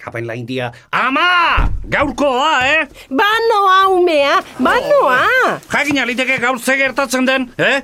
Kapain india. Ama! Gaurkoa, eh? Banoa umea, banoa! Jakin aliteke gaur ze gertatzen den, eh?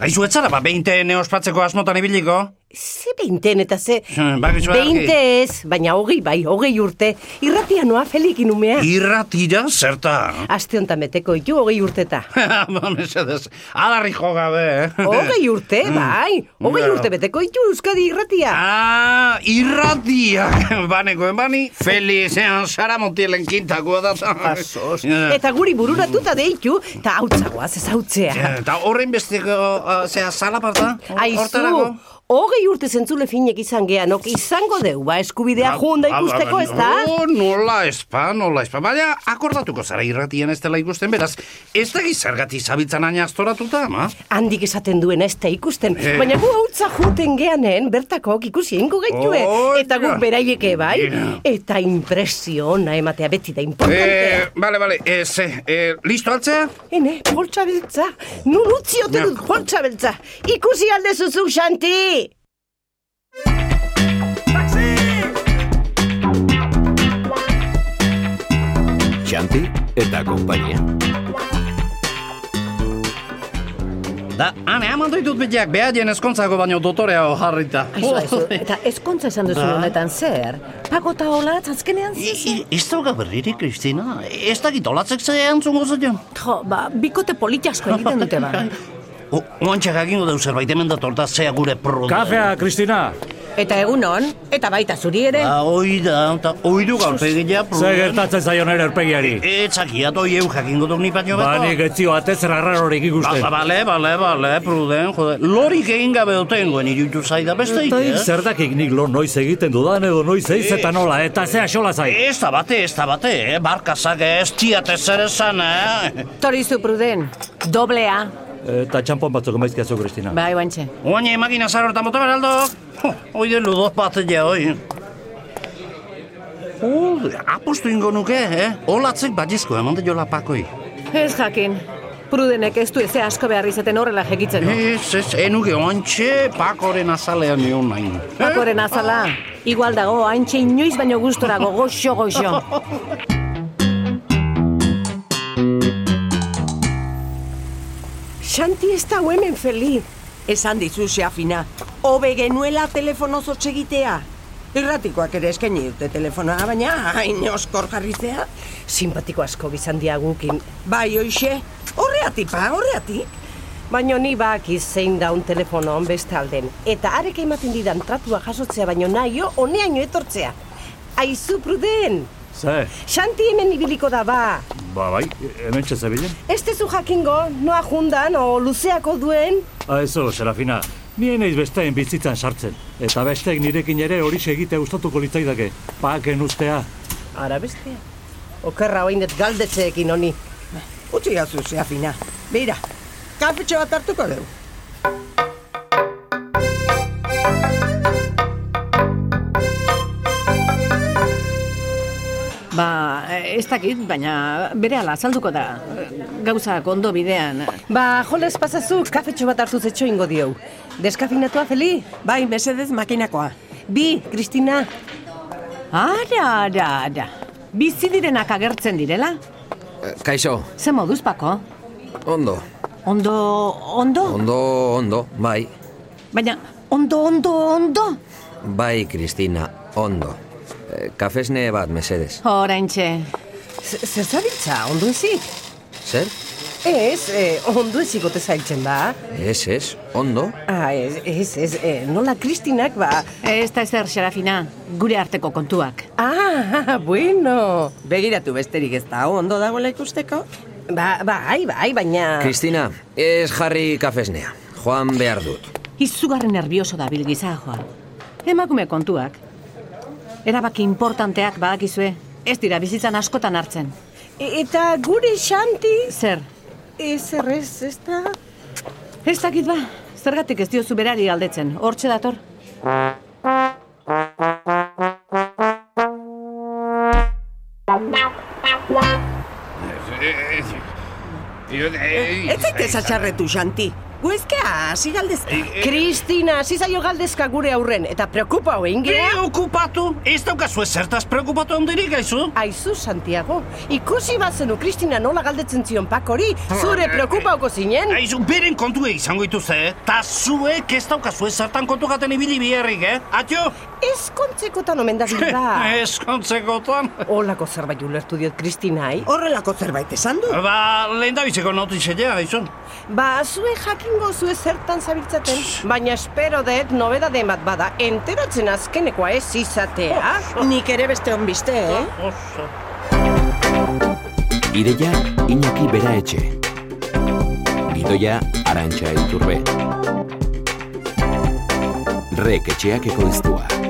Aizu etzara, ba, behintene ospatzeko asmotan ibiliko? Ze beinten eta ze... Hmm, bakizu argi. Beinte ez, baina hogei bai, hogei urte. Irratia noa felikin umea. Irratira, zerta. Aste honetan beteko ditu hogei urteta. Ba, Mesedez, adarri jo gabe, eh? Hogei urte, bai, hogei Ja. urte beteko ditu Euskadi irratia. Ah, irratia! Banekoen bani, felizean zara montielen kintakoa da. Eh, Azos. Ja. Eta guri bururatuta deitu, eta hautzagoaz ez hautzea. Ja, Eta horren besteko, uh, zea, zalaparta? Hor- Aizu, hortarako? hogei urte zentzule finek izan geanok, izango deu, ba, eskubidea junda Ba, ba, ba, ikusteko, ez da? No, nola espa, nola espa. Baina, akordatuko zara irratian ez dela ikusten, beraz, ez da gizargati zabiltzan aina astoratuta, ama? Handik esaten duena ez da ikusten, Eh. baina gu hautza juten geanen bertakoak ikusi ingo gaitue, Oh, eh. eta ja. guk beraieke bai, Ja. eta impresio ona ematea beti da importantea. Eh, bale, bale, ez, eh, listo altzea? Hene, poltsa beltza, nun utzi ote dut poltsa beltza, ikusi alde zuzuk xanti! Xanti eta konpainia. Da, hane, haman doitut bitiak, behaien eskontzako baino dotorea jarrita. Aizu, aizu. Oh. Eta ezkontza esan duzu Ba. honetan zer? Pagota holatz azkenean I- zer? i- Ez dauka berririk, Kristina. Ez dakit olatzek ze antzungo zetion. Jo, ba, bikote politiasko egiten dute ba. Oantxak agingo deu zerbait hemen datorta zea gure produktu. Kafea, Kristina! Eta egunon, eta baita zuri ere. Ba, hoi da, eta hoi du gaurpegilea Ze produktu. gertatzen zaion ere aurpegiari? Etzakiat hoi eu jakingo duk ni baino Ba, beto. nik etzio atez rarrarorik Ba, ikusten. ba, bale, bale, bale, pruden, jode. Lorik egin gabe oteengoen iruditu zaida beste Eta ik eh? zertakik nik lo noiz egiten dudan edo noiz eiz eta nola, eta ze axola zai. Ez da bate, ez da bate, eh? Barkazak ez tiate zer esan, eh? Torizu pruden, doblea. Eta txampon batzuk emaizkiazu, Kristina. Bai, bantxe. Oain emakina zaro eta mota beraldo. Jo, Hoi de ludoz bat ja, hoi. Jode, apostu ingo nuke, eh? Olatzek batizko, eman de jola pakoi. Ez jakin, prudenek ez du eze asko behar izaten horrela jegitzen. Ez, ez, enuke oantxe pakoren azalean nion nahi. Pakoren azala, igual dago, haintxe inoiz baino gustora goxo goxo. Xanti ez da hemen feliz. Esan dizu xeafina, hobe genuela telefonoz hotz egitea. Irratikoak ere eskaini dute telefonoa, baina hain oskor jarrizea. Simpatiko asko bizan diagukin, Bai, hoixe, horreatik, pa, horreatik. Baina ni bakiz zein daun telefono on beste alden. Eta arek ematen didan tratua jasotzea baino naio, honeaino etortzea. Aizu pruden! Ze, Xanti hemen ibiliko da ba. ba, bai, hemen txezabilen. Ez tezu jakingo, noa jundan o luzeako duen. Aizu, Ah, Serafina, nien eiz besteen bizitzan sartzen. Eta bestek nirekin ere hori egitea gustatuko litzaidake. Paken ustea. Ara bestea. Okerra oindet galdetzeekin honi. Utsi gazu xeafina. Beira, kafetxo bat hartuko dugu. Ba, ez dakit, baina bere ala azalduko da. Gauzak ondo bidean. Ba, joles pasazu, kafetxo bat hartu zetxo ingo dieu. Deskafinatua, Feli? Bai, mesedez makinakoa. Bi, Kristina. Ara, ara, ara. Bizi direnak agertzen direla? Eh, Kaixo, Ze moduz, Pako? ondo, Ondo, ondo? ondo, ondo, bai, Baina, ondo, ondo, ondo? bai, Kristina, ondo. Eh, Kafesne bat, mesedes. Horaintxe. Z- Zer zabiltza, ondo ezik? Zer? Ez, eh, ondo ezik ote zailtzen da. Ez, ez, ondo. Ah, ez, ez, ez, eh, nola Kristinak, ba... Ez da ezer, Serafina, gure arteko kontuak. Ah, bueno. Begiratu besterik ez da, ondo dagoela ikusteko. Ba, bai, bai, baina... Kristina, ez jarri kafesnea. Joan behar dut. Izugarren nervioso da bilgiza, joan. Emakume kontuak. Erabaki importanteak badakizue. Ez dira bizitzan askotan hartzen. E- eta gure xanti... Zer, Ez errez, ez da... ez dakit ba, zergatik ez diozu berari galdetzen, hortxe dator. Ez zaitez atxarretu, Xanti. Guezka, hasi galdezka. Kristina, hasi zaio galdezka gure aurren, eta preokupa hoen gea. Preokupatu? Ez daukazu zertaz preokupatu handirik, aizu? Aizu, Santiago, ikusi bazenu Kristina nola galdetzen zion pakori, zure preokupauko zinen. Aizu, beren kontue izango ituz, eh? Ta zuek ez daukazu ez zertan kontu gaten ibili biherrik, eh? Atio? Ez kontzekotan omen da bilda. Ez kontzekotan. Olako zerbait ulertu diot Kristinai. Horrelako zerbait esan du. Ba, lehen da biziko notizetea, aizu. Ba, zue jakingo zue zertan zabiltzaten, baina espero dut nobedade bat bada, enteratzen azkenekoa ez Oh. izatea. Nik ere beste onbiste, eh? Oso. Ideia Iñaki Bera Etxe. Gidoia Arantxa Iturbe. Rek etxeak ekoiztua.